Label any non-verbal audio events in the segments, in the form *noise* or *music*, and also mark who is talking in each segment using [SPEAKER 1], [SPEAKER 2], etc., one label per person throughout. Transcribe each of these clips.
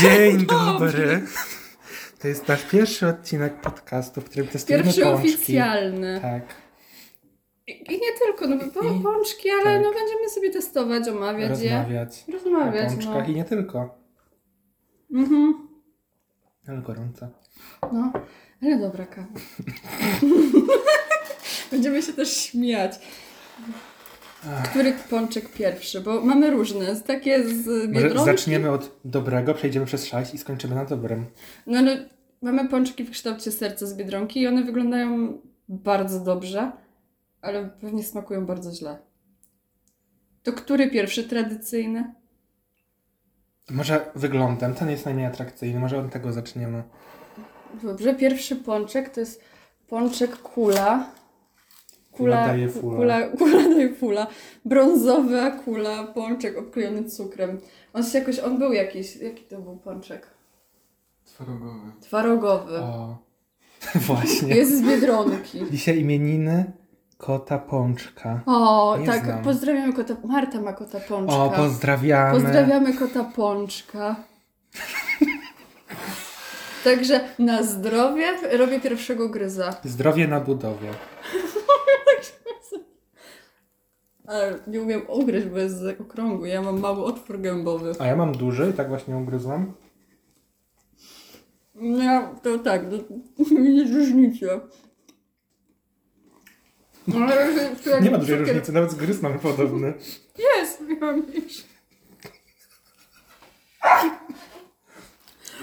[SPEAKER 1] Dzień dobry. To jest nasz pierwszy odcinek podcastu, w którym testujemy
[SPEAKER 2] Pierwszy
[SPEAKER 1] pączki.
[SPEAKER 2] oficjalny.
[SPEAKER 1] Tak.
[SPEAKER 2] I, I nie tylko, no bo były
[SPEAKER 1] I-
[SPEAKER 2] pączki, ale
[SPEAKER 1] tak.
[SPEAKER 2] no będziemy sobie testować, omawiać je.
[SPEAKER 1] Rozmawiać o
[SPEAKER 2] Rozmawiać, no.
[SPEAKER 1] pączkach i nie tylko.
[SPEAKER 2] Mhm.
[SPEAKER 1] Ale gorąco.
[SPEAKER 2] no. Ale dobra kawa. *laughs* będziemy się też śmiać.
[SPEAKER 1] Ach.
[SPEAKER 2] Który pączek pierwszy? Bo mamy różne, z- takie z
[SPEAKER 1] Może
[SPEAKER 2] biedronki.
[SPEAKER 1] zaczniemy od dobrego, przejdziemy przez sześć i skończymy na dobrym.
[SPEAKER 2] No ale mamy pączki w kształcie serca z biedronki i one wyglądają bardzo dobrze, ale pewnie smakują bardzo źle. To który pierwszy tradycyjny?
[SPEAKER 1] Może wyglądem, ten jest najmniej atrakcyjny, może od tego zaczniemy.
[SPEAKER 2] Dobrze, pierwszy pączek to jest pączek kula.
[SPEAKER 1] Kula daje fula.
[SPEAKER 2] Kula, kula daje fula. Brązowa kula, pączek obklejony cukrem. On się jakoś, on był jakiś, jaki to był pączek?
[SPEAKER 1] Twarogowy.
[SPEAKER 2] Twarogowy.
[SPEAKER 1] O, *laughs* właśnie.
[SPEAKER 2] Jest z
[SPEAKER 1] *laughs*
[SPEAKER 2] Biedronki.
[SPEAKER 1] Dzisiaj imieniny kota pączka.
[SPEAKER 2] O,
[SPEAKER 1] Nie
[SPEAKER 2] tak,
[SPEAKER 1] znam.
[SPEAKER 2] pozdrawiamy kota, Marta ma kota pączka.
[SPEAKER 1] O, pozdrawiamy.
[SPEAKER 2] Pozdrawiamy kota
[SPEAKER 1] *laughs*
[SPEAKER 2] pączka. Także na zdrowie robię pierwszego gryza.
[SPEAKER 1] Zdrowie na budowie.
[SPEAKER 2] Ale nie umiem ugryźć, bo jest z okrągły. Ja mam mały otwór gębowy.
[SPEAKER 1] A ja mam duży i tak właśnie ugryzłam.
[SPEAKER 2] No, to *laughs* tak, no, widzisz różnicę. No, Ale to jak
[SPEAKER 1] Nie ma dużej
[SPEAKER 2] cukier-
[SPEAKER 1] różnicy, nawet zgryz mamy podobny.
[SPEAKER 2] Jest, *laughs* miałam iść.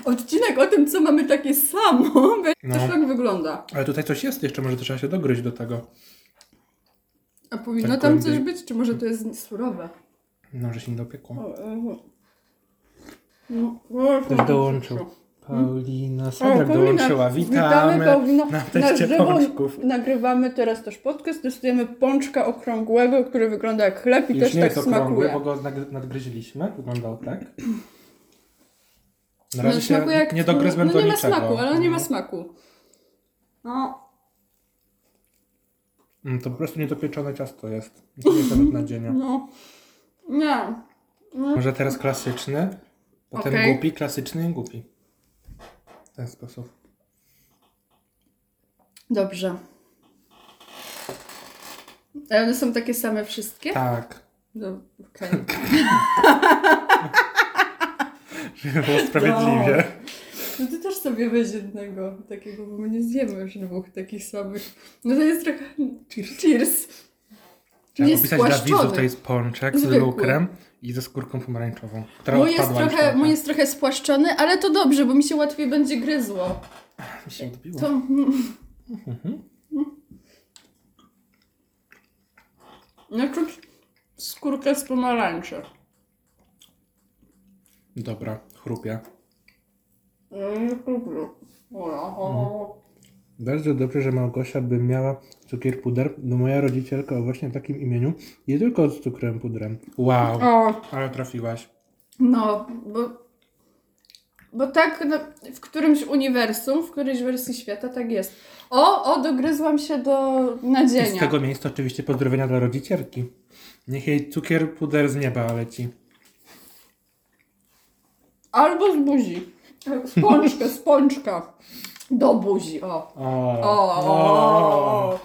[SPEAKER 2] Odcinek o tym, co mamy takie samo, *laughs*
[SPEAKER 1] No.
[SPEAKER 2] no. też tak wygląda.
[SPEAKER 1] Ale tutaj coś jest jeszcze, może to trzeba się dogryźć do tego.
[SPEAKER 2] A powinno
[SPEAKER 1] Tak
[SPEAKER 2] tam coś
[SPEAKER 1] głębiej.
[SPEAKER 2] być, czy może to jest surowe?
[SPEAKER 1] No, że się nie dopiekło.
[SPEAKER 2] O, o, o. No, o,
[SPEAKER 1] Ktoś dołączył. Paulina Sandrak
[SPEAKER 2] Paulina,
[SPEAKER 1] dołączyła.
[SPEAKER 2] Witamy
[SPEAKER 1] Witamy.
[SPEAKER 2] Paulino.
[SPEAKER 1] na
[SPEAKER 2] Na
[SPEAKER 1] teście
[SPEAKER 2] żywo
[SPEAKER 1] pączków.
[SPEAKER 2] nagrywamy teraz też podcast. Testujemy pączka okrągłego, który wygląda jak chleb i
[SPEAKER 1] Już
[SPEAKER 2] też
[SPEAKER 1] nie
[SPEAKER 2] tak
[SPEAKER 1] jest okrągły,
[SPEAKER 2] smakuje.
[SPEAKER 1] bo go nag- nadgryźliśmy. Wyglądał tak. Na
[SPEAKER 2] No,
[SPEAKER 1] razie się
[SPEAKER 2] smakuje jak-
[SPEAKER 1] nie dogryzłem
[SPEAKER 2] no,
[SPEAKER 1] do
[SPEAKER 2] nie ma
[SPEAKER 1] niczego.
[SPEAKER 2] smaku, ale nie ma
[SPEAKER 1] No.
[SPEAKER 2] smaku. No,
[SPEAKER 1] Mm, To po prostu niedopieczone ciasto jest. To nie jest nawet nadzienia.
[SPEAKER 2] no. Nie.
[SPEAKER 1] Może teraz klasyczny, potem
[SPEAKER 2] Okej.
[SPEAKER 1] głupi, klasyczny i głupi. W ten sposób.
[SPEAKER 2] Dobrze. Ale one są takie same wszystkie?
[SPEAKER 1] Tak.
[SPEAKER 2] No, okej.
[SPEAKER 1] Żeby było sprawiedliwie.
[SPEAKER 2] No ty też sobie weź jednego takiego, bo my nie zjemy już dwóch takich samych. No to jest trochę... Cheers. Cheers.
[SPEAKER 1] Trzeba
[SPEAKER 2] Nie
[SPEAKER 1] opisać dla widzów,
[SPEAKER 2] spłaszczony.
[SPEAKER 1] to jest pączek z
[SPEAKER 2] Zwykły.
[SPEAKER 1] lukrem i ze skórką pomarańczową, która
[SPEAKER 2] Mój jest,
[SPEAKER 1] odpadła już
[SPEAKER 2] trochę, mój jest trochę spłaszczony, ale to dobrze, bo mi się łatwiej będzie gryzło.
[SPEAKER 1] Mi się odbiło.
[SPEAKER 2] To... *laughs* No czuć skórkę z pomarańczy.
[SPEAKER 1] Dobra, chrupia.
[SPEAKER 2] Ja nie lubię. Ola, o.
[SPEAKER 1] Bardzo dobrze, że Małgosia by miała cukier puder, bo moja rodzicielka o właśnie takim imieniu je tylko z cukrem pudrem. Wow,
[SPEAKER 2] O,
[SPEAKER 1] ale trafiłaś.
[SPEAKER 2] No, bo, bo tak no, w którymś uniwersum, w którejś wersji świata tak jest. O, o, dogryzłam się do
[SPEAKER 1] I z
[SPEAKER 2] nadzienia.
[SPEAKER 1] tego miejsca oczywiście pozdrowienia dla rodzicielki. Niech jej cukier puder z nieba leci.
[SPEAKER 2] Albo z buzi. Z pączka, z pączka. Do buzi, o.
[SPEAKER 1] O,
[SPEAKER 2] O, o, o, o.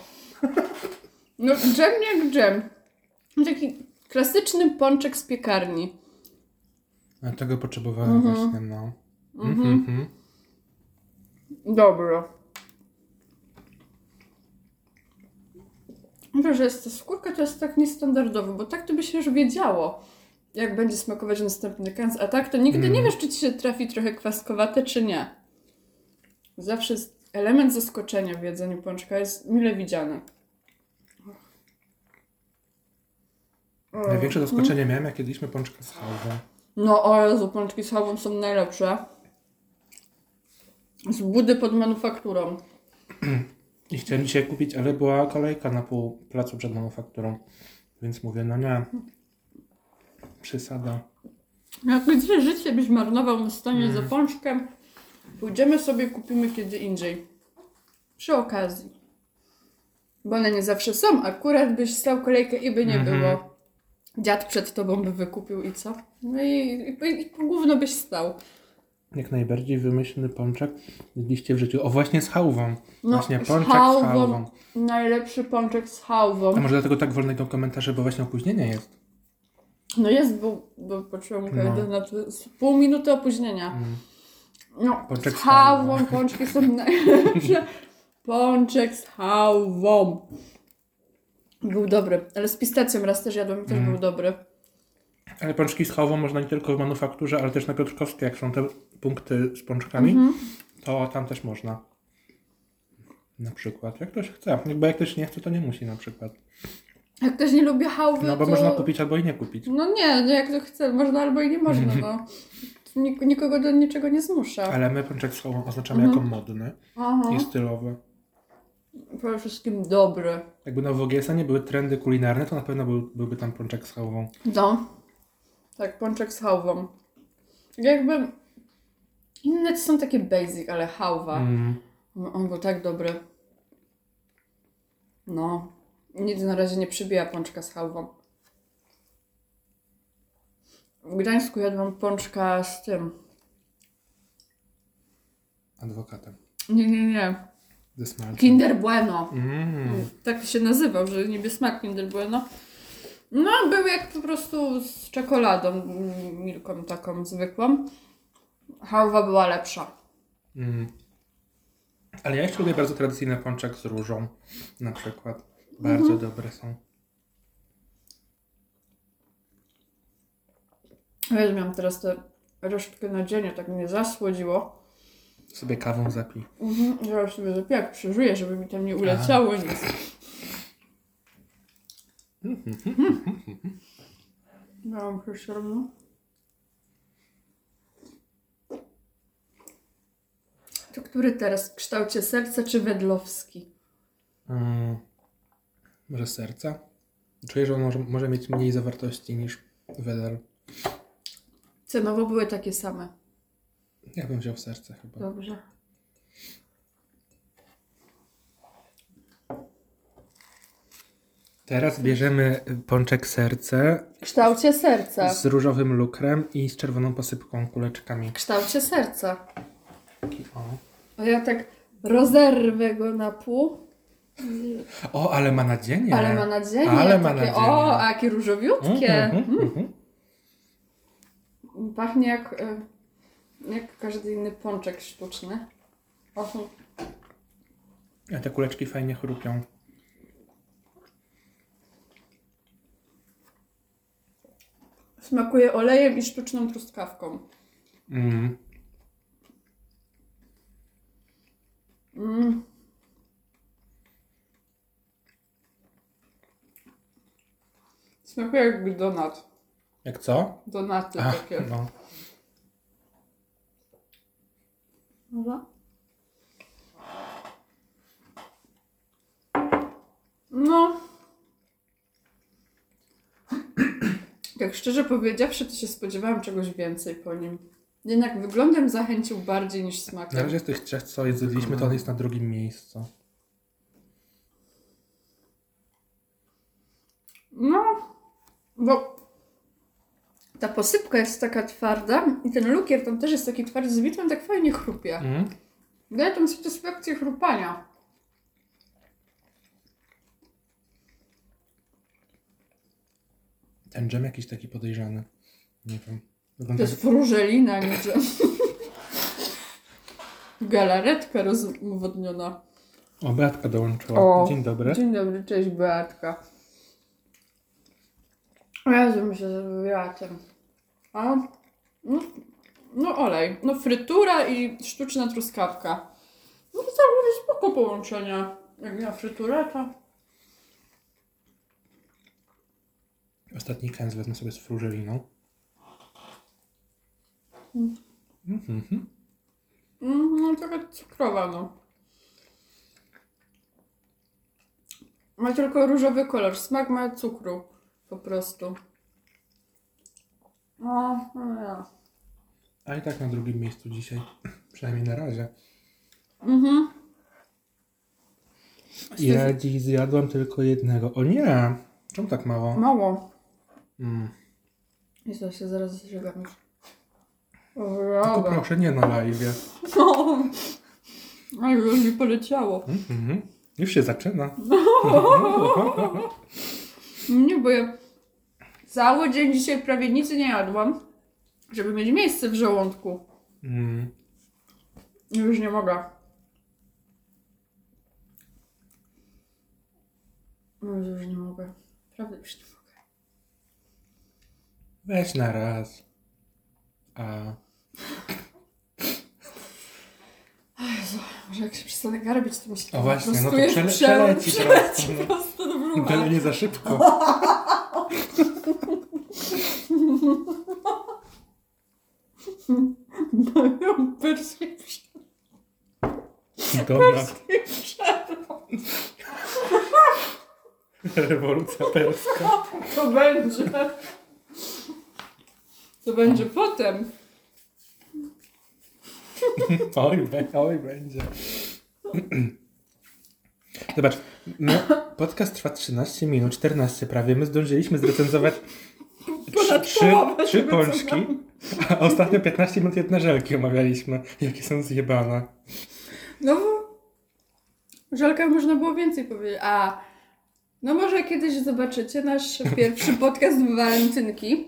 [SPEAKER 2] No, dżem jak dżem. Taki klasyczny pączek z piekarni.
[SPEAKER 1] A tego potrzebowałem
[SPEAKER 2] Mhm.
[SPEAKER 1] właśnie, no. Mhm. mhm.
[SPEAKER 2] Dobra. Wiesz, że jest ta skórka, to jest tak niestandardowy, bo tak to by się już wiedziało, jak będzie smakować następny kans, a tak to nigdy nie
[SPEAKER 1] Mm.
[SPEAKER 2] wiesz, czy ci się trafi trochę kwaskowate, czy nie. Zawsze jest element zaskoczenia w jedzeniu pączka jest mile widziany.
[SPEAKER 1] Największe zaskoczenie miałem, jak jedliśmy pączka z chałwą.
[SPEAKER 2] No o Jezu, pączki z chałwą są najlepsze. Z budy pod manufakturą.
[SPEAKER 1] I chciałem dzisiaj kupić, ale była kolejka na pół placu przed manufakturą. Więc mówię, no nie. Przysada.
[SPEAKER 2] Jak gdzie życie byś marnował na stanie
[SPEAKER 1] Mm.
[SPEAKER 2] za pączkiem, pójdziemy sobie, kupimy kiedy indziej. Przy okazji. Bo one nie zawsze są. Akurat byś stał kolejkę i by nie
[SPEAKER 1] Mhm.
[SPEAKER 2] było. Dziad przed tobą by wykupił i co? No i, i, i gówno byś stał.
[SPEAKER 1] Jak najbardziej wymyślny pączek jedliście w życiu. O, właśnie z hałwą.
[SPEAKER 2] No,
[SPEAKER 1] właśnie
[SPEAKER 2] z
[SPEAKER 1] pączek
[SPEAKER 2] hałwą.
[SPEAKER 1] z hałwą.
[SPEAKER 2] Najlepszy pączek z hałwą.
[SPEAKER 1] A może dlatego tak wolne idą komentarze, bo właśnie opóźnienie jest.
[SPEAKER 2] No jest, bo, bo poczułam
[SPEAKER 1] No.
[SPEAKER 2] no. na to, z pół minuty opóźnienia.
[SPEAKER 1] Mm.
[SPEAKER 2] No,
[SPEAKER 1] Pączek
[SPEAKER 2] z
[SPEAKER 1] z
[SPEAKER 2] hałwą
[SPEAKER 1] hałwą.
[SPEAKER 2] pączki są *laughs* najlepsze. Pączek z hałwą. Był dobry, ale z pistacją raz też jadłam i
[SPEAKER 1] Mm.
[SPEAKER 2] też był dobry.
[SPEAKER 1] Ale pączki z hałwą można nie tylko w manufakturze, ale też na Piotrkowskiej, jak są te punkty z pączkami,
[SPEAKER 2] Mhm.
[SPEAKER 1] to tam też można. Na przykład, jak ktoś chce. Jakby jak ktoś nie chce, to nie musi na przykład.
[SPEAKER 2] Jak ktoś nie lubi hałwy,
[SPEAKER 1] No bo
[SPEAKER 2] to...
[SPEAKER 1] można kupić albo i nie kupić.
[SPEAKER 2] No nie, no jak to chce, można albo i nie można, no. Nik- nikogo do niczego nie zmusza.
[SPEAKER 1] Mm. Ale my pączek z hałwą oznaczamy jako modny
[SPEAKER 2] Aha.
[SPEAKER 1] i stylowy.
[SPEAKER 2] Przede wszystkim dobry.
[SPEAKER 1] Jakby na WGS-a nie były trendy kulinarne, to na pewno był, byłby tam pączek z hałwą.
[SPEAKER 2] No. Tak, pączek z hałwą. Jakby inne to są takie basic, ale hałwa.
[SPEAKER 1] Mm.
[SPEAKER 2] No, On był tak dobry. No. Nic na razie nie przybija pączka z hałwą. W Gdańsku jadłam pączka z tym.
[SPEAKER 1] Adwokatem.
[SPEAKER 2] Nie, nie, nie.
[SPEAKER 1] Ze smalcem.
[SPEAKER 2] Kinder Bueno.
[SPEAKER 1] Mm.
[SPEAKER 2] Tak się nazywał, że niby smak Kinder Bueno. No, był jak po prostu z czekoladą, mm, milką taką zwykłą. Hałwa była lepsza.
[SPEAKER 1] Mm. Ale ja jeszcze lubię bardzo tradycyjny pączek z różą. Na przykład. Bardzo dobre są.
[SPEAKER 2] Ja miałam teraz tę resztkę na dzień, tak mnie zasłodziło.
[SPEAKER 1] Sobie kawą zapij.
[SPEAKER 2] Mhm, zaraz sobie zapiję, jak przeżyję, żeby mi tam nie uleciało nic. Miałam przeszczerną. To który teraz? W kształcie serca czy wedlowski?
[SPEAKER 1] Mm. Może z serca? Czuję, że on może, może mieć mniej zawartości niż Wedel.
[SPEAKER 2] Cenowo były takie same.
[SPEAKER 1] Ja bym wziął serce chyba.
[SPEAKER 2] Dobrze.
[SPEAKER 1] Teraz bierzemy pączek serce
[SPEAKER 2] W kształcie serca.
[SPEAKER 1] z różowym lukrem i z czerwoną posypką kuleczkami.
[SPEAKER 2] W kształcie serca.
[SPEAKER 1] Taki, O,
[SPEAKER 2] A ja tak rozerwę go na pół,
[SPEAKER 1] o ale ma nadzienie.
[SPEAKER 2] ale ma nadzieję.
[SPEAKER 1] Ale ma
[SPEAKER 2] takie,
[SPEAKER 1] nadzieję.
[SPEAKER 2] O, a jakie różowiutkie.
[SPEAKER 1] Mhm, mhm, mhm.
[SPEAKER 2] Pachnie jak, e, jak każdy inny pączek sztuczny. O,
[SPEAKER 1] A te kuleczki fajnie chrupią.
[SPEAKER 2] Smakuje olejem i sztuczną truskawką.
[SPEAKER 1] Mm.
[SPEAKER 2] Mm. Smakuje jak donat.
[SPEAKER 1] Jak co?
[SPEAKER 2] Donaty
[SPEAKER 1] A,
[SPEAKER 2] takie.
[SPEAKER 1] no.
[SPEAKER 2] Dobra. No. Tak szczerze powiedziawszy, to się spodziewałam czegoś więcej po nim. Jednak wyglądem zachęcił bardziej niż
[SPEAKER 1] Na
[SPEAKER 2] smakiem.
[SPEAKER 1] razie z tych trzech, co jedliśmy, to on jest na drugim miejscu.
[SPEAKER 2] No, bo ta posypka jest taka twarda i ten lukier tam też jest taki twardy z bitwą, tak fajnie chrupie.
[SPEAKER 1] Mm.
[SPEAKER 2] Daje tam satysfakcję chrupania.
[SPEAKER 1] Ten dżem jakiś taki podejrzany. Nie wiem.
[SPEAKER 2] To
[SPEAKER 1] Wygląda
[SPEAKER 2] jest wróżelina, niczym. *laughs* Galaretka rozwodniona.
[SPEAKER 1] O, Beatka dołączyła.
[SPEAKER 2] O.
[SPEAKER 1] Dzień dobry.
[SPEAKER 2] Dzień dobry, cześć Beatka. Razem się zrobiła ten. A? No, no olej. No frytura i sztuczna truskawka. No to całkiem spoko połączenia. Jak na fryturę, to...
[SPEAKER 1] Ostatni kęs wezmę sobie z frużeliną. Mhm, mhm.
[SPEAKER 2] Mm, No taka cukrowa, no. Ma tylko różowy kolor. Smak ma cukru. Po prostu. No, no ja.
[SPEAKER 1] A i tak na drugim miejscu dzisiaj. *laughs* Przynajmniej na razie.
[SPEAKER 2] Mhm.
[SPEAKER 1] Ja dziś zjadłam tylko jednego. O nie! Czemu tak mało?
[SPEAKER 2] Mało.
[SPEAKER 1] Mm.
[SPEAKER 2] Tak. I to się zaraz zżygam już.
[SPEAKER 1] Tylko
[SPEAKER 2] Rower.
[SPEAKER 1] proszę, nie na live.
[SPEAKER 2] No. A już mi poleciało.
[SPEAKER 1] Mhm. Już się
[SPEAKER 2] *laughs*
[SPEAKER 1] zaczyna.
[SPEAKER 2] Nie, bo ja cały dzień dzisiaj prawie nic nie jadłam, żeby mieć miejsce w żołądku.
[SPEAKER 1] Mm.
[SPEAKER 2] Już nie mogę. Jezu, Już nie mogę. Prawda, już nie mogę.
[SPEAKER 1] Weź na raz. A.
[SPEAKER 2] Może jak się przestanę garbić, to mi się
[SPEAKER 1] O właśnie,
[SPEAKER 2] po
[SPEAKER 1] no to
[SPEAKER 2] prostu
[SPEAKER 1] przele-
[SPEAKER 2] jest
[SPEAKER 1] przeleci
[SPEAKER 2] prze- *laughs* przeleci
[SPEAKER 1] prosto, no.
[SPEAKER 2] prosto do
[SPEAKER 1] Ale *laughs*
[SPEAKER 2] brzucha. *laughs*
[SPEAKER 1] nie za szybko.
[SPEAKER 2] No, Perski prze-
[SPEAKER 1] Donat.
[SPEAKER 2] przerwał.
[SPEAKER 1] *laughs* Rewolucja perska.
[SPEAKER 2] To będzie. To będzie potem.
[SPEAKER 1] Oj, be, oj będzie. *clears throat* Zobacz, my, podcast trwa 13 minut, 14 prawie. My zdążyliśmy zrecenzować trzy,
[SPEAKER 2] Ponad
[SPEAKER 1] trzy,
[SPEAKER 2] połowę
[SPEAKER 1] trzy
[SPEAKER 2] tego, co
[SPEAKER 1] pączki, a ostatnio 15 minut jedne żelki omawialiśmy. Jakie są zjebane.
[SPEAKER 2] No bo o żelkach można było więcej powiedzieć. A no może kiedyś zobaczycie nasz *laughs* pierwszy podcast Walentynki.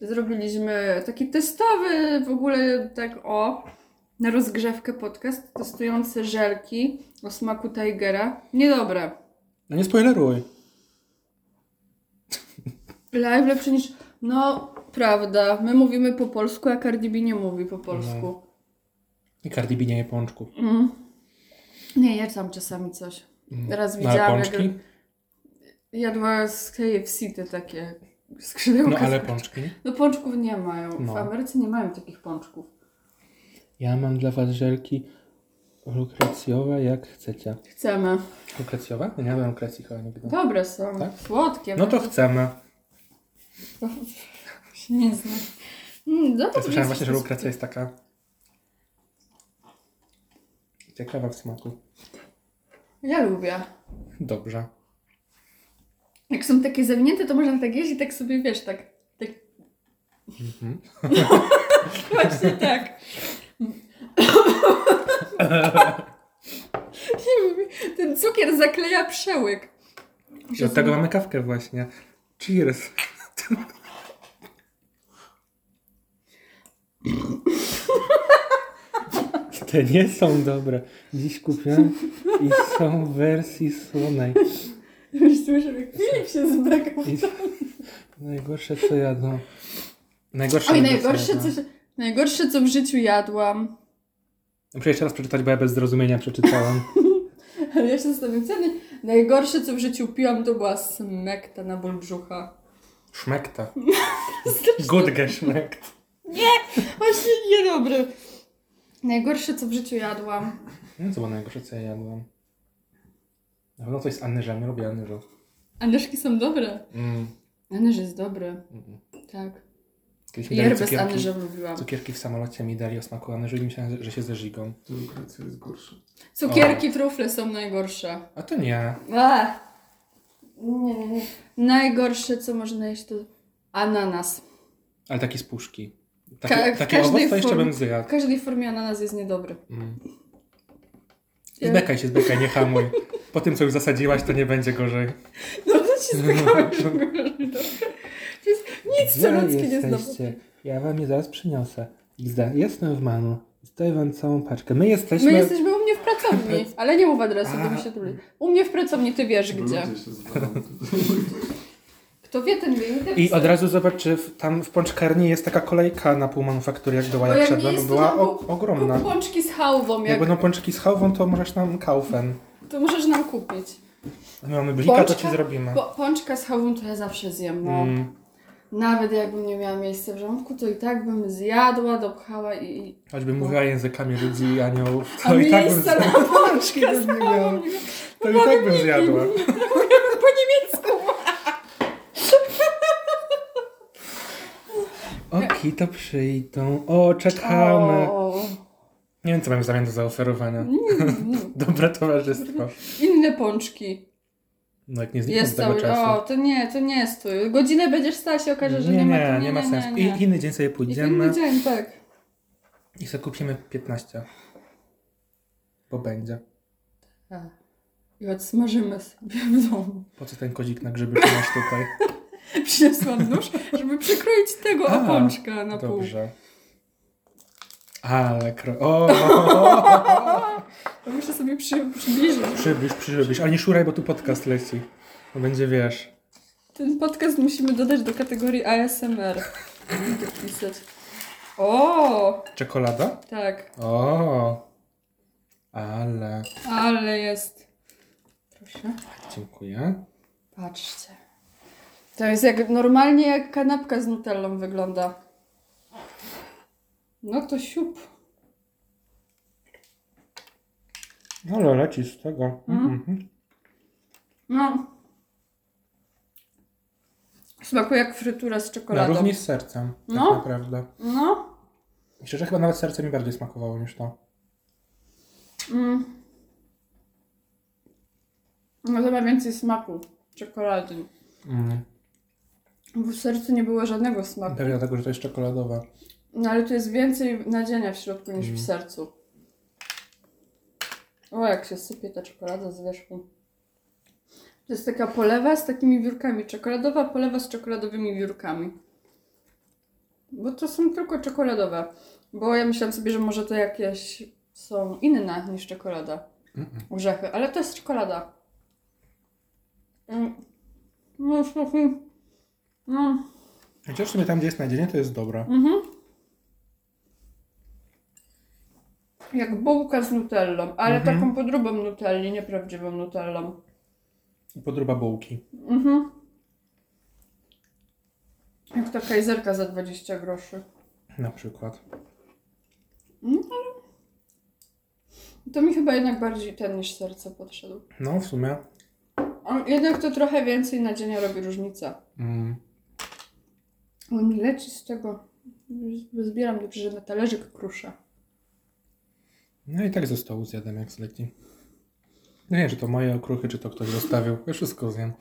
[SPEAKER 2] Zrobiliśmy taki testowy w ogóle tak o na rozgrzewkę podcast testujący żelki o smaku Tigera. Niedobre.
[SPEAKER 1] No nie spoileruj.
[SPEAKER 2] Live lepszy niż... No, prawda. My mówimy po polsku, a Cardi B nie mówi po polsku.
[SPEAKER 1] I Cardi B nie je pączków.
[SPEAKER 2] Mm. Nie, ja tam czasami coś. Raz
[SPEAKER 1] No, ale
[SPEAKER 2] widziałam, jak
[SPEAKER 1] pączki?
[SPEAKER 2] Jadła z KFC te takie skrzydełka.
[SPEAKER 1] No ale
[SPEAKER 2] z-
[SPEAKER 1] pączki.
[SPEAKER 2] No pączków nie mają.
[SPEAKER 1] No.
[SPEAKER 2] W Ameryce nie mają takich pączków.
[SPEAKER 1] Ja mam dla was żelki lukrecjowe, jak chcecie.
[SPEAKER 2] Chcemy.
[SPEAKER 1] Lukrecjowe? Nie jadłem lukrecji chyba nigdy.
[SPEAKER 2] Dobre są.
[SPEAKER 1] Tak?
[SPEAKER 2] Słodkie.
[SPEAKER 1] No to chcemy.
[SPEAKER 2] To- się nie znam. Mm, No to
[SPEAKER 1] Ja słyszałem właśnie, że
[SPEAKER 2] jest-
[SPEAKER 1] lukrecja jest taka ciekawa w smaku.
[SPEAKER 2] Ja lubię.
[SPEAKER 1] Dobrze.
[SPEAKER 2] Jak są takie zawinięte, to można tak jeść i tak sobie, wiesz, tak... tak...
[SPEAKER 1] Mhm.
[SPEAKER 2] *laughs* Właśnie
[SPEAKER 1] *laughs*
[SPEAKER 2] tak. *laughs* Nie mówię, Ten cukier zakleja przełyk.
[SPEAKER 1] I od tego mamy kawkę właśnie. Cheers. *laughs* Te nie są dobre. Dziś kupiłem i są w wersji słonej.
[SPEAKER 2] Już słyszę, jak Filip się zbekał.
[SPEAKER 1] I najgorsze co jadą. Najgorsze
[SPEAKER 2] Oj,
[SPEAKER 1] jadą,
[SPEAKER 2] najgorsze co,
[SPEAKER 1] jadą.
[SPEAKER 2] się- najgorsze, co w życiu jadłam.
[SPEAKER 1] Muszę jeszcze raz przeczytać, bo ja bez zrozumienia przeczytałem.
[SPEAKER 2] Ale ja się zastanawiam, co naj- najgorsze, co w życiu piłam, to była smekta na ból brzucha.
[SPEAKER 1] Szmekta.
[SPEAKER 2] *laughs*
[SPEAKER 1] Gutge szmekt.
[SPEAKER 2] Właśnie niedobre. Najgorsze, co w życiu jadłam.
[SPEAKER 1] Nie wiem, co było najgorsze, co ja jadłam. Na pewno coś z anyżem. Ja lubię anyżu.
[SPEAKER 2] Anyżki są dobre.
[SPEAKER 1] Mm.
[SPEAKER 2] Anyż jest dobry,
[SPEAKER 1] mm.
[SPEAKER 2] tak.
[SPEAKER 1] Kiedyś mi dali
[SPEAKER 2] Jerbę z
[SPEAKER 1] cukierki,
[SPEAKER 2] anyżem lubiłam.
[SPEAKER 1] cukierki w samolocie mi dali o smaku anyżu i myślałem, że się zeżigą.
[SPEAKER 3] To lukrecja jest gorsza.
[SPEAKER 2] Cukierki, trufle są najgorsze.
[SPEAKER 1] A to nie.
[SPEAKER 2] Ech. Nie, nie, nie. Najgorsze, co można jeść, to ananas.
[SPEAKER 1] Ale taki z puszki. Taki,
[SPEAKER 2] Ka- w
[SPEAKER 1] taki
[SPEAKER 2] każdej
[SPEAKER 1] owoc to jeszcze
[SPEAKER 2] formie.
[SPEAKER 1] bym
[SPEAKER 2] W
[SPEAKER 1] zjadł.
[SPEAKER 2] każdej formie ananas jest niedobry.
[SPEAKER 1] Mm.
[SPEAKER 2] Ja-
[SPEAKER 1] Zbekaj się, zbekaj, nie hamuj. Po tym, co już zasadziłaś, to nie będzie gorzej.
[SPEAKER 2] No to ci spychałeś w górę. To jest *laughs* nic, co ludzkie nie znowu.
[SPEAKER 1] Ja wam je zaraz przyniosę. Jestem w Manu. Zdaj wam całą paczkę. My jesteśmy...
[SPEAKER 2] My jesteśmy u mnie w
[SPEAKER 1] *laughs*
[SPEAKER 2] pracowni, ale nie mów adresu, bo mi się trudzi. U mnie w pracowni, ty wiesz gdzie.
[SPEAKER 3] Ludzie się zwalą.
[SPEAKER 2] *laughs* Kto wie, ten wie. ten
[SPEAKER 1] I
[SPEAKER 2] chce.
[SPEAKER 1] od razu zobacz, czy w, tam w pączkarni jest taka kolejka na pół manufaktury, jak była,
[SPEAKER 2] Bo
[SPEAKER 1] jak
[SPEAKER 2] No jak nie
[SPEAKER 1] szedłem,
[SPEAKER 2] jest, to
[SPEAKER 1] była
[SPEAKER 2] tam
[SPEAKER 1] o,
[SPEAKER 2] kup-
[SPEAKER 1] ogromna.
[SPEAKER 2] Kup pączki z hałwą,
[SPEAKER 1] Jak
[SPEAKER 2] jak,
[SPEAKER 1] będą pączki z chałwą, to możesz nam kaufen.
[SPEAKER 2] to możesz nam kupić.
[SPEAKER 1] My mamy blika, to ci
[SPEAKER 2] Pączka?
[SPEAKER 1] zrobimy.
[SPEAKER 2] Po, pączka z hałwą to ja zawsze zjem, no.
[SPEAKER 1] No. Mm.
[SPEAKER 2] Nawet jakbym nie miała miejsca w żołądku, to i tak bym zjadła, dopchała i... i...
[SPEAKER 1] Choćby mówiła językami ludzi i aniołów,
[SPEAKER 2] A
[SPEAKER 1] to i tak bym
[SPEAKER 2] miejsca na
[SPEAKER 1] zjadła. *laughs*
[SPEAKER 2] pączki
[SPEAKER 1] bym
[SPEAKER 2] z
[SPEAKER 1] nie
[SPEAKER 2] hałwą
[SPEAKER 1] miała.
[SPEAKER 2] nie-
[SPEAKER 1] To i tak bym zjadła.
[SPEAKER 2] *laughs* Po niemiecku.
[SPEAKER 1] *laughs* Oki, to przyjdą. O, czekamy.
[SPEAKER 2] O.
[SPEAKER 1] Nie wiem, co mam w zamian do zaoferowania. Dobre towarzystwo.
[SPEAKER 2] Inne pączki.
[SPEAKER 1] No jak nie zniknę z
[SPEAKER 2] Jest
[SPEAKER 1] tego
[SPEAKER 2] cały. O,
[SPEAKER 1] czasu.
[SPEAKER 2] to nie, to nie jest twój. Godzinę będziesz stać i okaże, że nie, ma.
[SPEAKER 1] nie, nie ma sensu. I inny dzień sobie
[SPEAKER 2] I ten
[SPEAKER 1] pójdziemy.
[SPEAKER 2] dzień, tak.
[SPEAKER 1] I sobie kupimy 15. Bo będzie.
[SPEAKER 2] Tak. I odsmażymy sobie w domu. *laughs*
[SPEAKER 1] Po co ten kozik na grzyby tu masz tutaj?
[SPEAKER 2] Przyniosłam nóż, żeby przekroić tego
[SPEAKER 1] A,
[SPEAKER 2] opączka *laughs* na pół.
[SPEAKER 1] Dobrze. Ale kro... *laughs* O!
[SPEAKER 2] To muszę sobie przy, przybliżyć.
[SPEAKER 1] Przybliż, przybliż. A nie szuraj, bo tu podcast leci. Bo będzie, wiesz...
[SPEAKER 2] Ten podcast musimy dodać do kategorii ASMR. Dopisać. O,
[SPEAKER 1] Czekolada?
[SPEAKER 2] tak,
[SPEAKER 1] O! Ale...
[SPEAKER 2] ale jest. Proszę.
[SPEAKER 1] Dziękuję.
[SPEAKER 2] Patrzcie. To jest jak normalnie jak kanapka z nutellą wygląda. No to siup.
[SPEAKER 1] No ale leci z tego.
[SPEAKER 2] Mhm.
[SPEAKER 1] Mhm.
[SPEAKER 2] No. Smakuje jak frytura z
[SPEAKER 1] Na
[SPEAKER 2] czekoladą.
[SPEAKER 1] równi z sercem. Tak
[SPEAKER 2] No.
[SPEAKER 1] naprawdę.
[SPEAKER 2] No.
[SPEAKER 1] I szczerze, chyba nawet serce mi bardziej smakowało niż to.
[SPEAKER 2] Mm. No to ma więcej smaku. Czekolady.
[SPEAKER 1] Mm.
[SPEAKER 2] Bo w sercu nie było żadnego smaku.
[SPEAKER 1] Pewnie dlatego, że to jest czekoladowe.
[SPEAKER 2] No ale tu jest więcej nadzienia w środku niż w
[SPEAKER 1] Mm.
[SPEAKER 2] sercu. O, jak się sypie ta czekolada z wierzchu. To jest taka polewa z takimi wiórkami. Czekoladowa polewa z czekoladowymi wiórkami. Bo to są tylko czekoladowe. Bo ja myślałam sobie, że może to jakieś są inne niż czekolada.
[SPEAKER 1] Mm-mm.
[SPEAKER 2] Orzechy, ale to jest czekolada. Mm. No, jest taki... No.
[SPEAKER 1] Chociaż w sumie tam, gdzie jest nadzienie, to jest dobra.
[SPEAKER 2] Mhm. Jak bułka z nutellą, ale
[SPEAKER 1] Mhm.
[SPEAKER 2] taką podróbą nutelli, nieprawdziwą nutellą.
[SPEAKER 1] I podruba bułki.
[SPEAKER 2] Mhm. Jak ta kajzerka za 20 groszy.
[SPEAKER 1] Na przykład.
[SPEAKER 2] To mi chyba jednak bardziej ten niż serce podszedł.
[SPEAKER 1] No, w sumie.
[SPEAKER 2] A Jednak to trochę więcej nadzienia robi różnica.
[SPEAKER 1] Mm.
[SPEAKER 2] Bo mi leci z tego. Zbieram dobrze, że na talerzyk krusza.
[SPEAKER 1] No i tak ze stołu zjadłem, jak zleci. Nie wiem, czy to moje okruchy, czy to ktoś zostawił. Ja wszystko zjem.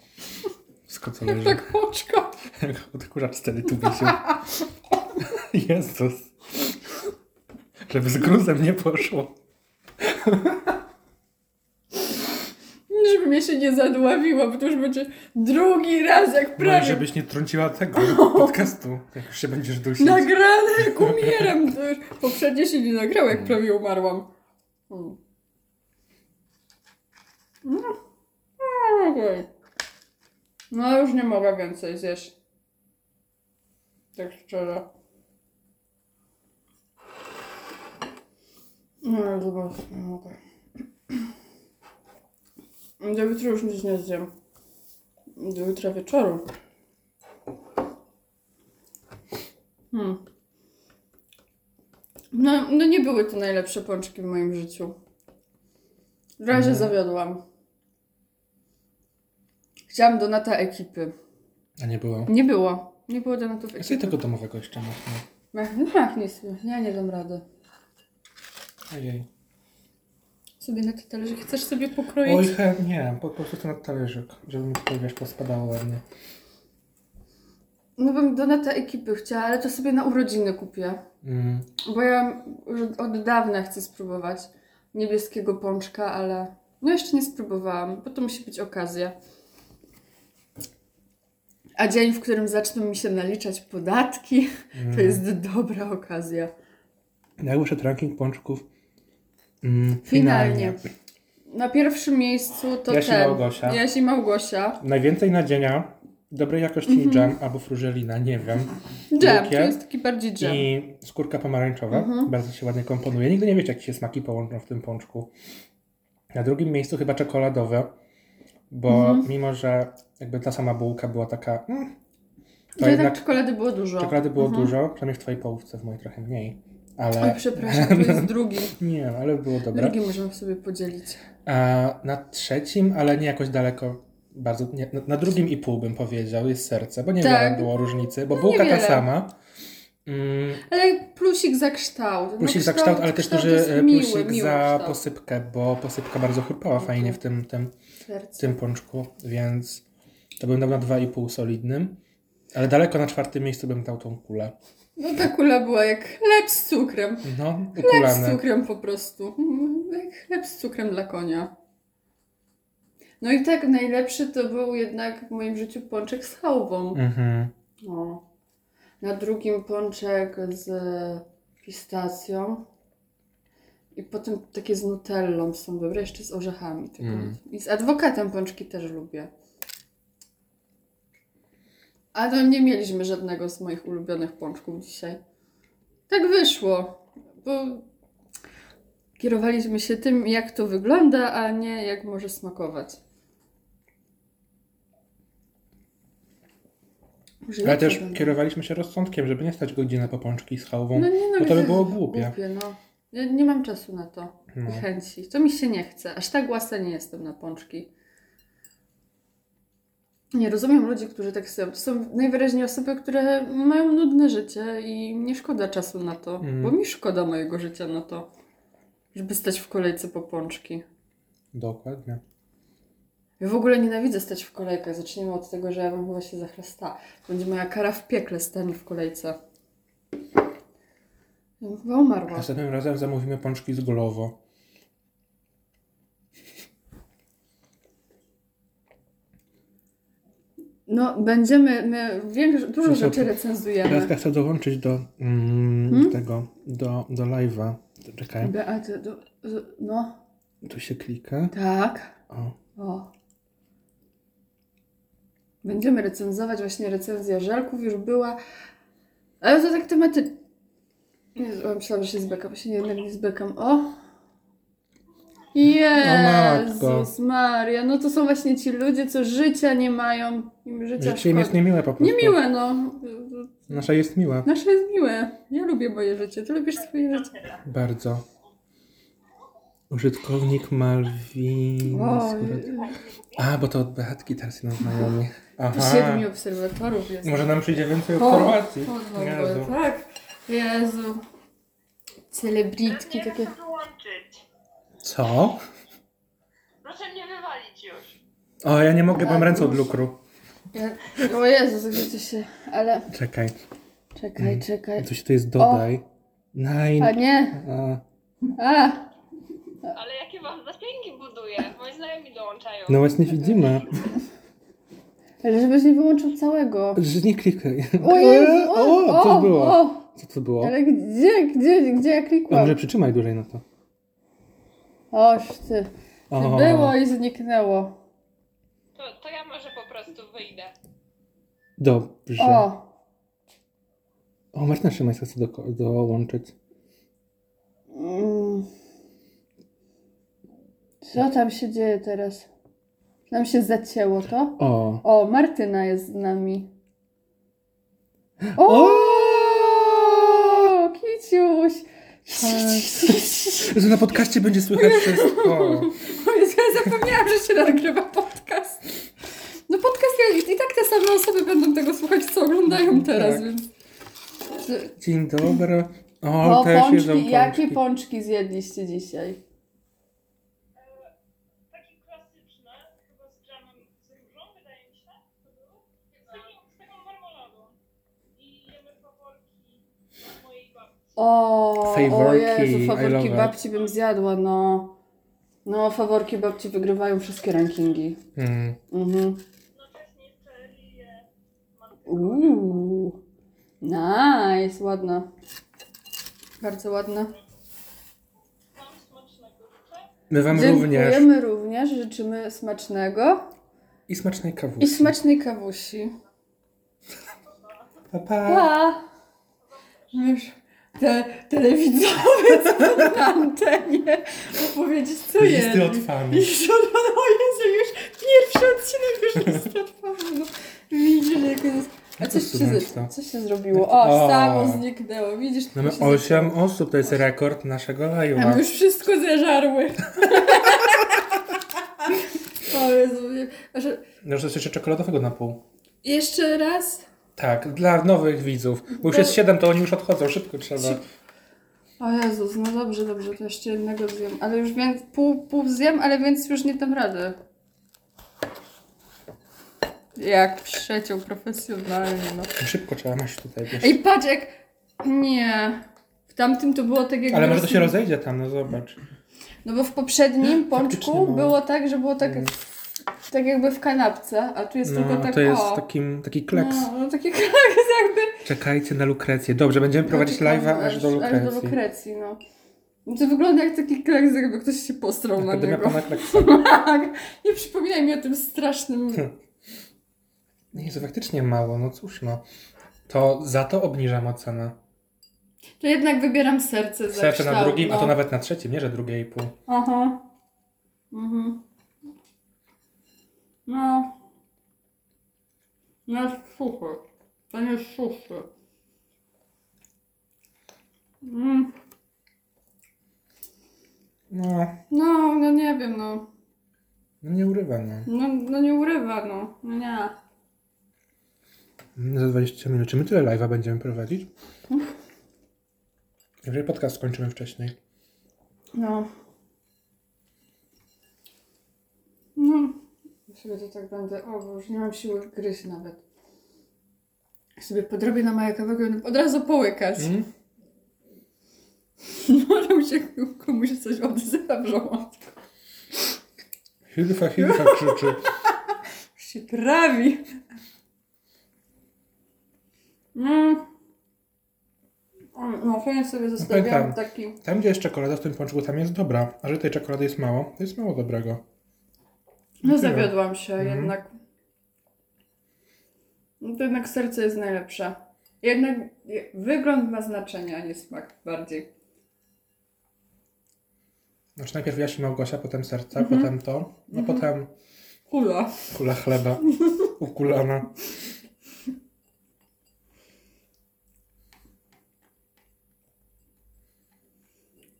[SPEAKER 1] Wszystko, co
[SPEAKER 2] Jak
[SPEAKER 1] leży. *laughs*
[SPEAKER 2] tak poczka.
[SPEAKER 1] Jak odkurzacz wtedy tu się. *laughs* Jezus. Żeby z gruzem nie poszło.
[SPEAKER 2] Żeby mnie się nie zadławiło, bo to już będzie drugi raz, jak
[SPEAKER 1] No i
[SPEAKER 2] prawie
[SPEAKER 1] żebyś nie trąciła
[SPEAKER 2] *laughs*
[SPEAKER 1] tego podcastu, jak już się będziesz dusić.
[SPEAKER 2] No Nagrane, jak umieram. To już poprzednio się nie nagrało, jak prawie umarłam. Mm. No. No, okej. No już nie mogę więcej zjeść. Tak szczerze. No, ale zobacz, nie mogę. Do jutra już nic nie zjem. Do jutra wieczoru. Hmm. No, no nie były to najlepsze pączki w moim życiu. W razie
[SPEAKER 1] Mhm.
[SPEAKER 2] zawiodłam. Chciałam donata ekipy.
[SPEAKER 1] A nie było.
[SPEAKER 2] Nie było. Nie było donatów
[SPEAKER 1] Ja sobie
[SPEAKER 2] ekipy.
[SPEAKER 1] tego domowego jeszcze No. mocno.
[SPEAKER 2] Mach, no mach, nic. Ja nie dam rady.
[SPEAKER 1] Ojej.
[SPEAKER 2] Sobie na te talerze chcesz sobie pokroić?
[SPEAKER 1] Oj, he, nie, po prostu to na talerzyk, żeby mi tutaj wiesz, pospadało ładnie.
[SPEAKER 2] No bym donata ekipy chciała, ale to sobie na urodziny kupię.
[SPEAKER 1] Mm.
[SPEAKER 2] Bo ja już od dawna chcę spróbować niebieskiego pączka, ale no jeszcze nie spróbowałam, bo to musi być okazja. A dzień, w którym zaczną mi się naliczać podatki, to
[SPEAKER 1] Mhm.
[SPEAKER 2] jest dobra okazja.
[SPEAKER 1] mm. Jak wyszedł ranking pączków? Mm,
[SPEAKER 2] Finalnie. Na pierwszym miejscu to
[SPEAKER 1] Jaś i
[SPEAKER 2] ten.
[SPEAKER 1] Małgosia.
[SPEAKER 2] Jaś i Małgosia.
[SPEAKER 1] Najwięcej nadzienia, dobrej jakości
[SPEAKER 2] Mhm.
[SPEAKER 1] dżem albo frużelina, nie wiem.
[SPEAKER 2] Dżem, to
[SPEAKER 1] Lukier.
[SPEAKER 2] jest taki bardziej dżem.
[SPEAKER 1] I skórka pomarańczowa,
[SPEAKER 2] Mhm.
[SPEAKER 1] bardzo się ładnie komponuje. Nigdy nie wiecie, jakie się smaki połączą w tym pączku. Na drugim miejscu chyba czekoladowe, bo
[SPEAKER 2] Mhm.
[SPEAKER 1] mimo, że jakby ta sama bułka była taka... Mm,
[SPEAKER 2] To jednak czekolady tak było dużo.
[SPEAKER 1] Czekolady było
[SPEAKER 2] Mhm.
[SPEAKER 1] dużo, przynajmniej w twojej połówce, w mojej trochę mniej.
[SPEAKER 2] Oj,
[SPEAKER 1] Ale
[SPEAKER 2] przepraszam, to jest
[SPEAKER 1] *laughs*
[SPEAKER 2] drugi.
[SPEAKER 1] nie, ale było dobre.
[SPEAKER 2] Drugi możemy sobie podzielić.
[SPEAKER 1] A na trzecim, ale nie jakoś daleko, bardzo nie, na, na drugim i pół bym powiedział, jest serce, bo niewiele
[SPEAKER 2] Tak.
[SPEAKER 1] było różnicy, bo bułka ta
[SPEAKER 2] niewiele.
[SPEAKER 1] sama. Mm,
[SPEAKER 2] Ale plusik za kształt. No
[SPEAKER 1] plusik za kształt, ale też duży
[SPEAKER 2] jest
[SPEAKER 1] e,
[SPEAKER 2] miły,
[SPEAKER 1] plusik
[SPEAKER 2] miły
[SPEAKER 1] za
[SPEAKER 2] kształt.
[SPEAKER 1] posypkę, bo posypka bardzo chrupiała
[SPEAKER 2] Mhm.
[SPEAKER 1] fajnie w tym, tym, w
[SPEAKER 2] Serce.
[SPEAKER 1] tym pączku, więc to bym dał na dwa i pół solidnym. Ale daleko na czwartym miejscu bym dał tą kulę.
[SPEAKER 2] No ta kula była jak chleb z cukrem.
[SPEAKER 1] No,
[SPEAKER 2] Chleb z
[SPEAKER 1] ukulane.
[SPEAKER 2] cukrem po prostu. Mm, Jak chleb z cukrem dla konia. No i tak najlepszy to był jednak w moim życiu pączek z chałwą.
[SPEAKER 1] Mhm.
[SPEAKER 2] No. Na drugim pączek z pistacją. I potem takie z nutellą są dobre, jeszcze z orzechami. tylko-
[SPEAKER 1] Mm.
[SPEAKER 2] I z adwokatem pączki też lubię. A no nie mieliśmy żadnego z moich ulubionych pączków dzisiaj. Tak wyszło, bo kierowaliśmy się tym, jak to wygląda, a nie jak może smakować. Może
[SPEAKER 1] Ale
[SPEAKER 2] lepiej
[SPEAKER 1] też
[SPEAKER 2] będzie.
[SPEAKER 1] kierowaliśmy się rozsądkiem, żeby nie stać godzinę po pączki z chałwą.
[SPEAKER 2] No nie, no,
[SPEAKER 1] Bo to by
[SPEAKER 2] gdzie-
[SPEAKER 1] było głupie.
[SPEAKER 2] no. Ja nie mam czasu na to.
[SPEAKER 1] No.
[SPEAKER 2] I chęci. To mi się nie chce. Aż tak łasa nie jestem na pączki. Nie rozumiem ludzi, którzy tak są. To są najwyraźniej osoby, które mają nudne życie i im nie szkoda czasu na to.
[SPEAKER 1] Mm.
[SPEAKER 2] Bo mi szkoda mojego życia na to, żeby stać w kolejce po pączki.
[SPEAKER 1] Dokładnie.
[SPEAKER 2] Ja w ogóle nienawidzę stać w kolejkach. Zacznijmy od tego, że ja bym chyba się zachlastała. Będzie moja kara w piekle stanie w kolejce. Ja bym chyba umarła.
[SPEAKER 1] Następnym razem zamówimy pączki z golowo.
[SPEAKER 2] No, będziemy, my większo- dużo
[SPEAKER 1] Proszę,
[SPEAKER 2] rzeczy
[SPEAKER 1] to- Teraz
[SPEAKER 2] recenzujemy.
[SPEAKER 1] chcę dołączyć do mm,
[SPEAKER 2] Hmm?
[SPEAKER 1] tego, do, do live'a. Czekaj,
[SPEAKER 2] Beaty, do, z- no,
[SPEAKER 1] tu się klika.
[SPEAKER 2] tak,
[SPEAKER 1] O.
[SPEAKER 2] o. Będziemy recenzować, właśnie recenzja żelków już była, ale to tak tematycznie. Jezu, a myślałam, że się zbekam, bo się nie- jednak nie zbekam, o.
[SPEAKER 1] No
[SPEAKER 2] Jezus Maria, no to są właśnie ci ludzie, co życia nie mają, im życia
[SPEAKER 1] Życie im jest
[SPEAKER 2] szkoda.
[SPEAKER 1] niemiłe po prostu.
[SPEAKER 2] Niemiłe, no.
[SPEAKER 1] Nasze jest miłe.
[SPEAKER 2] Nasze jest miłe. Ja lubię moje życie, ty lubisz swoje życie.
[SPEAKER 1] Bardzo. Użytkownik Malwin.
[SPEAKER 2] O,
[SPEAKER 1] A, bo to od Beatki teraz nas znajomi. Aha.
[SPEAKER 2] siedmiu obserwatorów jest.
[SPEAKER 1] Może nam przyjdzie więcej
[SPEAKER 2] O,
[SPEAKER 1] obserwacji.
[SPEAKER 2] o, w ogóle,
[SPEAKER 1] Jezu.
[SPEAKER 2] Tak. Jezu. Celebritki
[SPEAKER 3] Proszę mnie
[SPEAKER 2] takie.
[SPEAKER 3] wyłączyć.
[SPEAKER 1] Co?
[SPEAKER 3] Proszę mnie wywalić już.
[SPEAKER 1] O, ja nie mogę,
[SPEAKER 2] Tak,
[SPEAKER 1] mam ręce od
[SPEAKER 2] już.
[SPEAKER 1] lukru.
[SPEAKER 2] Ja- O Jezu, gdzie to się. Ale
[SPEAKER 1] Czekaj,
[SPEAKER 2] czekaj, czekaj.
[SPEAKER 1] coś tu jest dodaj. Nine.
[SPEAKER 2] A nie.
[SPEAKER 1] A,
[SPEAKER 2] A!
[SPEAKER 3] Ale jakie wam zasięgi buduję? Moi znajomi dołączają.
[SPEAKER 1] no właśnie widzimy.
[SPEAKER 2] Ale żebyś nie wyłączył całego.
[SPEAKER 1] Że nie klikaj. *laughs*
[SPEAKER 2] O Jezu! O,
[SPEAKER 1] o, coś
[SPEAKER 2] o,
[SPEAKER 1] było.
[SPEAKER 2] o.
[SPEAKER 1] Co to było?
[SPEAKER 2] Ale gdzie, gdzie, gdzie ja
[SPEAKER 1] A
[SPEAKER 2] klikłam?
[SPEAKER 1] może przytrzymaj dłużej na to.
[SPEAKER 2] Oż ty. ty
[SPEAKER 1] O.
[SPEAKER 2] Było i zniknęło.
[SPEAKER 3] To, to ja może po prostu wyjdę.
[SPEAKER 1] Dobrze. O,
[SPEAKER 2] O!
[SPEAKER 1] o Martyna Szymańska chce doko- dołączyć.
[SPEAKER 2] Mm. Co tam się dzieje teraz? Nam się zacięło to?
[SPEAKER 1] O.
[SPEAKER 2] *laughs* O, Martyna jest z nami.
[SPEAKER 1] O!
[SPEAKER 2] O! Kiciuś!
[SPEAKER 1] Że na podcaście będzie słychać wszystko.
[SPEAKER 2] Ja zapomniałam, że się nagrywa podcast. No podcast, ja- i tak te same osoby będą tego słuchać, co oglądają teraz,
[SPEAKER 1] Tak.
[SPEAKER 2] więc...
[SPEAKER 1] Dzień dobry. O,
[SPEAKER 2] O,
[SPEAKER 1] No, też
[SPEAKER 2] pączki,
[SPEAKER 1] jedzą pączki.
[SPEAKER 2] No, jakie pączki zjedliście dzisiaj?
[SPEAKER 3] Takie klasyczne, chyba z dżemem z różą, wydaje mi się. To było? Z, taką, z taką marmoladą. I jemy faworki od mojej babci.
[SPEAKER 2] O, o
[SPEAKER 1] Faworki, I
[SPEAKER 2] Jezu,
[SPEAKER 1] love
[SPEAKER 2] faworki
[SPEAKER 1] it.
[SPEAKER 2] babci bym zjadła, no. No, faworki babci wygrywają wszystkie rankingi.
[SPEAKER 1] Mm.
[SPEAKER 2] Mhm.
[SPEAKER 3] Jednocześnie jeszcze je
[SPEAKER 2] Uuu, nice, ładna. Bardzo ładna.
[SPEAKER 3] mam smacznego życzę.
[SPEAKER 1] My wam również.
[SPEAKER 2] Dziękujemy również, życzymy smacznego
[SPEAKER 1] I smacznej kawusi.
[SPEAKER 2] i smacznej kawusi.
[SPEAKER 1] Pa, pa.
[SPEAKER 2] Pa! Mysz, te telewidzowie co na *laughs* antenie opowiedzieć co jest.
[SPEAKER 1] Listy od fanów.
[SPEAKER 2] Już od o Jezu, już pierwszy odcinek już jest od fanów. Widzisz, jak jest. A
[SPEAKER 1] Jak
[SPEAKER 2] coś
[SPEAKER 1] to
[SPEAKER 2] się,
[SPEAKER 1] usunąć
[SPEAKER 2] ze-
[SPEAKER 1] to? Tak,
[SPEAKER 2] coś się zrobiło. O,
[SPEAKER 1] O.
[SPEAKER 2] samo zniknęło. Widzisz,
[SPEAKER 1] Mamy
[SPEAKER 2] to się
[SPEAKER 1] 8 osób, to jest rekord naszego
[SPEAKER 2] A my
[SPEAKER 1] live'a.
[SPEAKER 2] już wszystko zeżarły. *laughs* o Jezu, nie- aż-
[SPEAKER 1] No, że jeszcze czekoladowego na pół.
[SPEAKER 2] Jeszcze raz.
[SPEAKER 1] Tak, dla nowych widzów. Bo już
[SPEAKER 2] To-
[SPEAKER 1] jest 7, to oni już odchodzą, szybko trzeba.
[SPEAKER 2] O Jezus, no dobrze, dobrze, to jeszcze jednego zjem. Ale już więc pół, pół zjem, ale więc już nie dam rady. Jak przeciął profesjonalnie, no.
[SPEAKER 1] Szybko trzeba maść tutaj. Wiesz.
[SPEAKER 2] Ej, patrz, jak Nie. W tamtym to było tak jak...
[SPEAKER 1] Ale może to
[SPEAKER 2] wiosna.
[SPEAKER 1] się rozejdzie tam, no zobacz.
[SPEAKER 2] No bo w
[SPEAKER 1] Faktycznie
[SPEAKER 2] poprzednim
[SPEAKER 1] no.
[SPEAKER 2] pączku
[SPEAKER 1] mało.
[SPEAKER 2] było tak, że było tak, tak jakby w kanapce, a tu jest
[SPEAKER 1] No,
[SPEAKER 2] tylko tak
[SPEAKER 1] to jest
[SPEAKER 2] o.
[SPEAKER 1] takim, taki kleks.
[SPEAKER 2] no, no taki *laughs* kleks jakby.
[SPEAKER 1] Czekajcie na Lukrecję. Dobrze, będziemy prowadzić
[SPEAKER 2] No,
[SPEAKER 1] live'a
[SPEAKER 2] ciekawe,
[SPEAKER 1] aż do
[SPEAKER 2] Aż do
[SPEAKER 1] Lukrecji.
[SPEAKER 2] Lukrecji, no. No To wygląda jak taki kleks, jakby ktoś się postrał na
[SPEAKER 1] Akademia
[SPEAKER 2] niego.
[SPEAKER 1] pana Kleksa.
[SPEAKER 2] *laughs* Tak. Nie przypominaj mi o tym strasznym...
[SPEAKER 1] Hmm. Nie, to No faktycznie mało, no cóż no. To za to obniżam ocenę.
[SPEAKER 2] To jednak wybieram serce za
[SPEAKER 1] Serce na
[SPEAKER 2] kształt,
[SPEAKER 1] drugim, a
[SPEAKER 2] no.
[SPEAKER 1] to nawet na trzecim, nie, że drugie i pół.
[SPEAKER 2] Aha. Mhm. No. No jest suchy. Ten jest suszy. Mm.
[SPEAKER 1] No,
[SPEAKER 2] No, no nie wiem, no.
[SPEAKER 1] no nie urywa, no.
[SPEAKER 2] No, no nie urywa, no. No nie.
[SPEAKER 1] Za 20 minut. Czy my tyle live'a będziemy prowadzić?
[SPEAKER 2] Mhm.
[SPEAKER 1] Jeżeli podcast skończymy wcześniej.
[SPEAKER 2] No. No. Ja sobie to tak będę... O, bo już nie mam siły gryźć nawet. Ja sobie podrobię na majakowego i będę od razu połykać.
[SPEAKER 1] Mm?
[SPEAKER 2] Może mi się komuś coś odzywa w żołądku.
[SPEAKER 1] Hilfa,
[SPEAKER 2] *laughs*
[SPEAKER 1] Hilfa krzyczy.
[SPEAKER 2] Już się trawi. Mm. O, No, fajnie sobie zostawiam
[SPEAKER 1] Pamiętam.
[SPEAKER 2] taki...
[SPEAKER 1] Tam, gdzie jest czekolada w tym pączku, tam jest dobra. A że tej czekolady jest mało, to jest mało dobrego.
[SPEAKER 2] No
[SPEAKER 1] Tyle.
[SPEAKER 2] zawiodłam się
[SPEAKER 1] Mhm.
[SPEAKER 2] jednak. No to jednak serce jest najlepsze. Jednak je- wygląd ma znaczenie, a nie smak bardziej.
[SPEAKER 1] Znaczy najpierw Jaś i Małgosia, potem serca,
[SPEAKER 2] Mhm.
[SPEAKER 1] potem to, no
[SPEAKER 2] Mhm.
[SPEAKER 1] potem
[SPEAKER 2] Kula.
[SPEAKER 1] kula
[SPEAKER 2] *laughs*
[SPEAKER 1] chleba ukulana.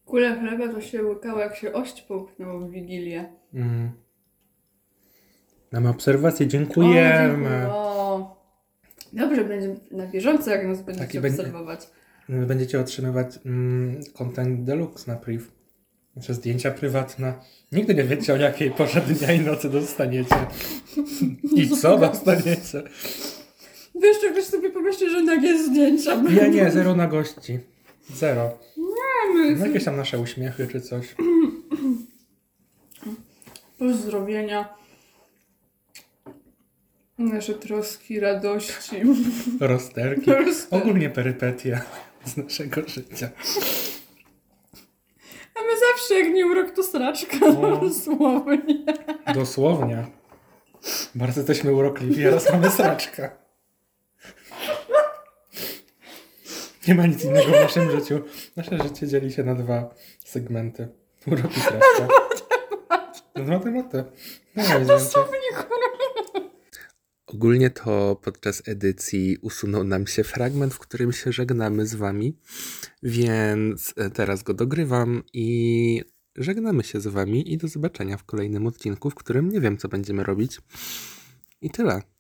[SPEAKER 2] Kule chleba to się łykało, jak się ość połknęło w Wigilię.
[SPEAKER 1] Mm. Mamy obserwację,
[SPEAKER 2] O,
[SPEAKER 1] dziękujemy.
[SPEAKER 2] dziękuję. O. Dobrze, będziemy na bieżąco, jak nas będziecie
[SPEAKER 1] będzie-
[SPEAKER 2] obserwować.
[SPEAKER 1] Będziecie otrzymywać mm, content deluxe na priv. Znaczy zdjęcia prywatne. Nigdy nie wiecie, o jakiej porze dnia i nocy
[SPEAKER 2] *laughs*
[SPEAKER 1] dostaniecie. I co dostaniecie.
[SPEAKER 2] Wiesz, jak ktoś sobie pomyśli, że nagie zdjęcia będą.
[SPEAKER 1] Nie, nie, zero na gości. Zero. No,
[SPEAKER 2] Mamy
[SPEAKER 1] jakieś tam nasze uśmiechy czy coś.
[SPEAKER 2] pozdrowienia. Nasze troski, radości.
[SPEAKER 1] Rozterki.
[SPEAKER 2] Rozterki.
[SPEAKER 1] Ogólnie perypetia z naszego życia.
[SPEAKER 2] A my zawsze, jak nie urok, to straczka.
[SPEAKER 1] No.
[SPEAKER 2] Dosłownie.
[SPEAKER 1] Dosłownie. Bardzo jesteśmy urokliwi, a raz mamy sraczkę. Nie ma nic innego w naszym życiu. Nasze życie dzieli się na dwa segmenty. Urok i sraczka. No dwa tematy. No,
[SPEAKER 2] Dosłownie, kurwa.
[SPEAKER 4] Ogólnie to podczas edycji usunął nam się fragment, w którym się żegnamy z wami, więc e, teraz go dogrywam i żegnamy się z wami i do zobaczenia w kolejnym odcinku, w którym nie wiem co będziemy robić. I tyle.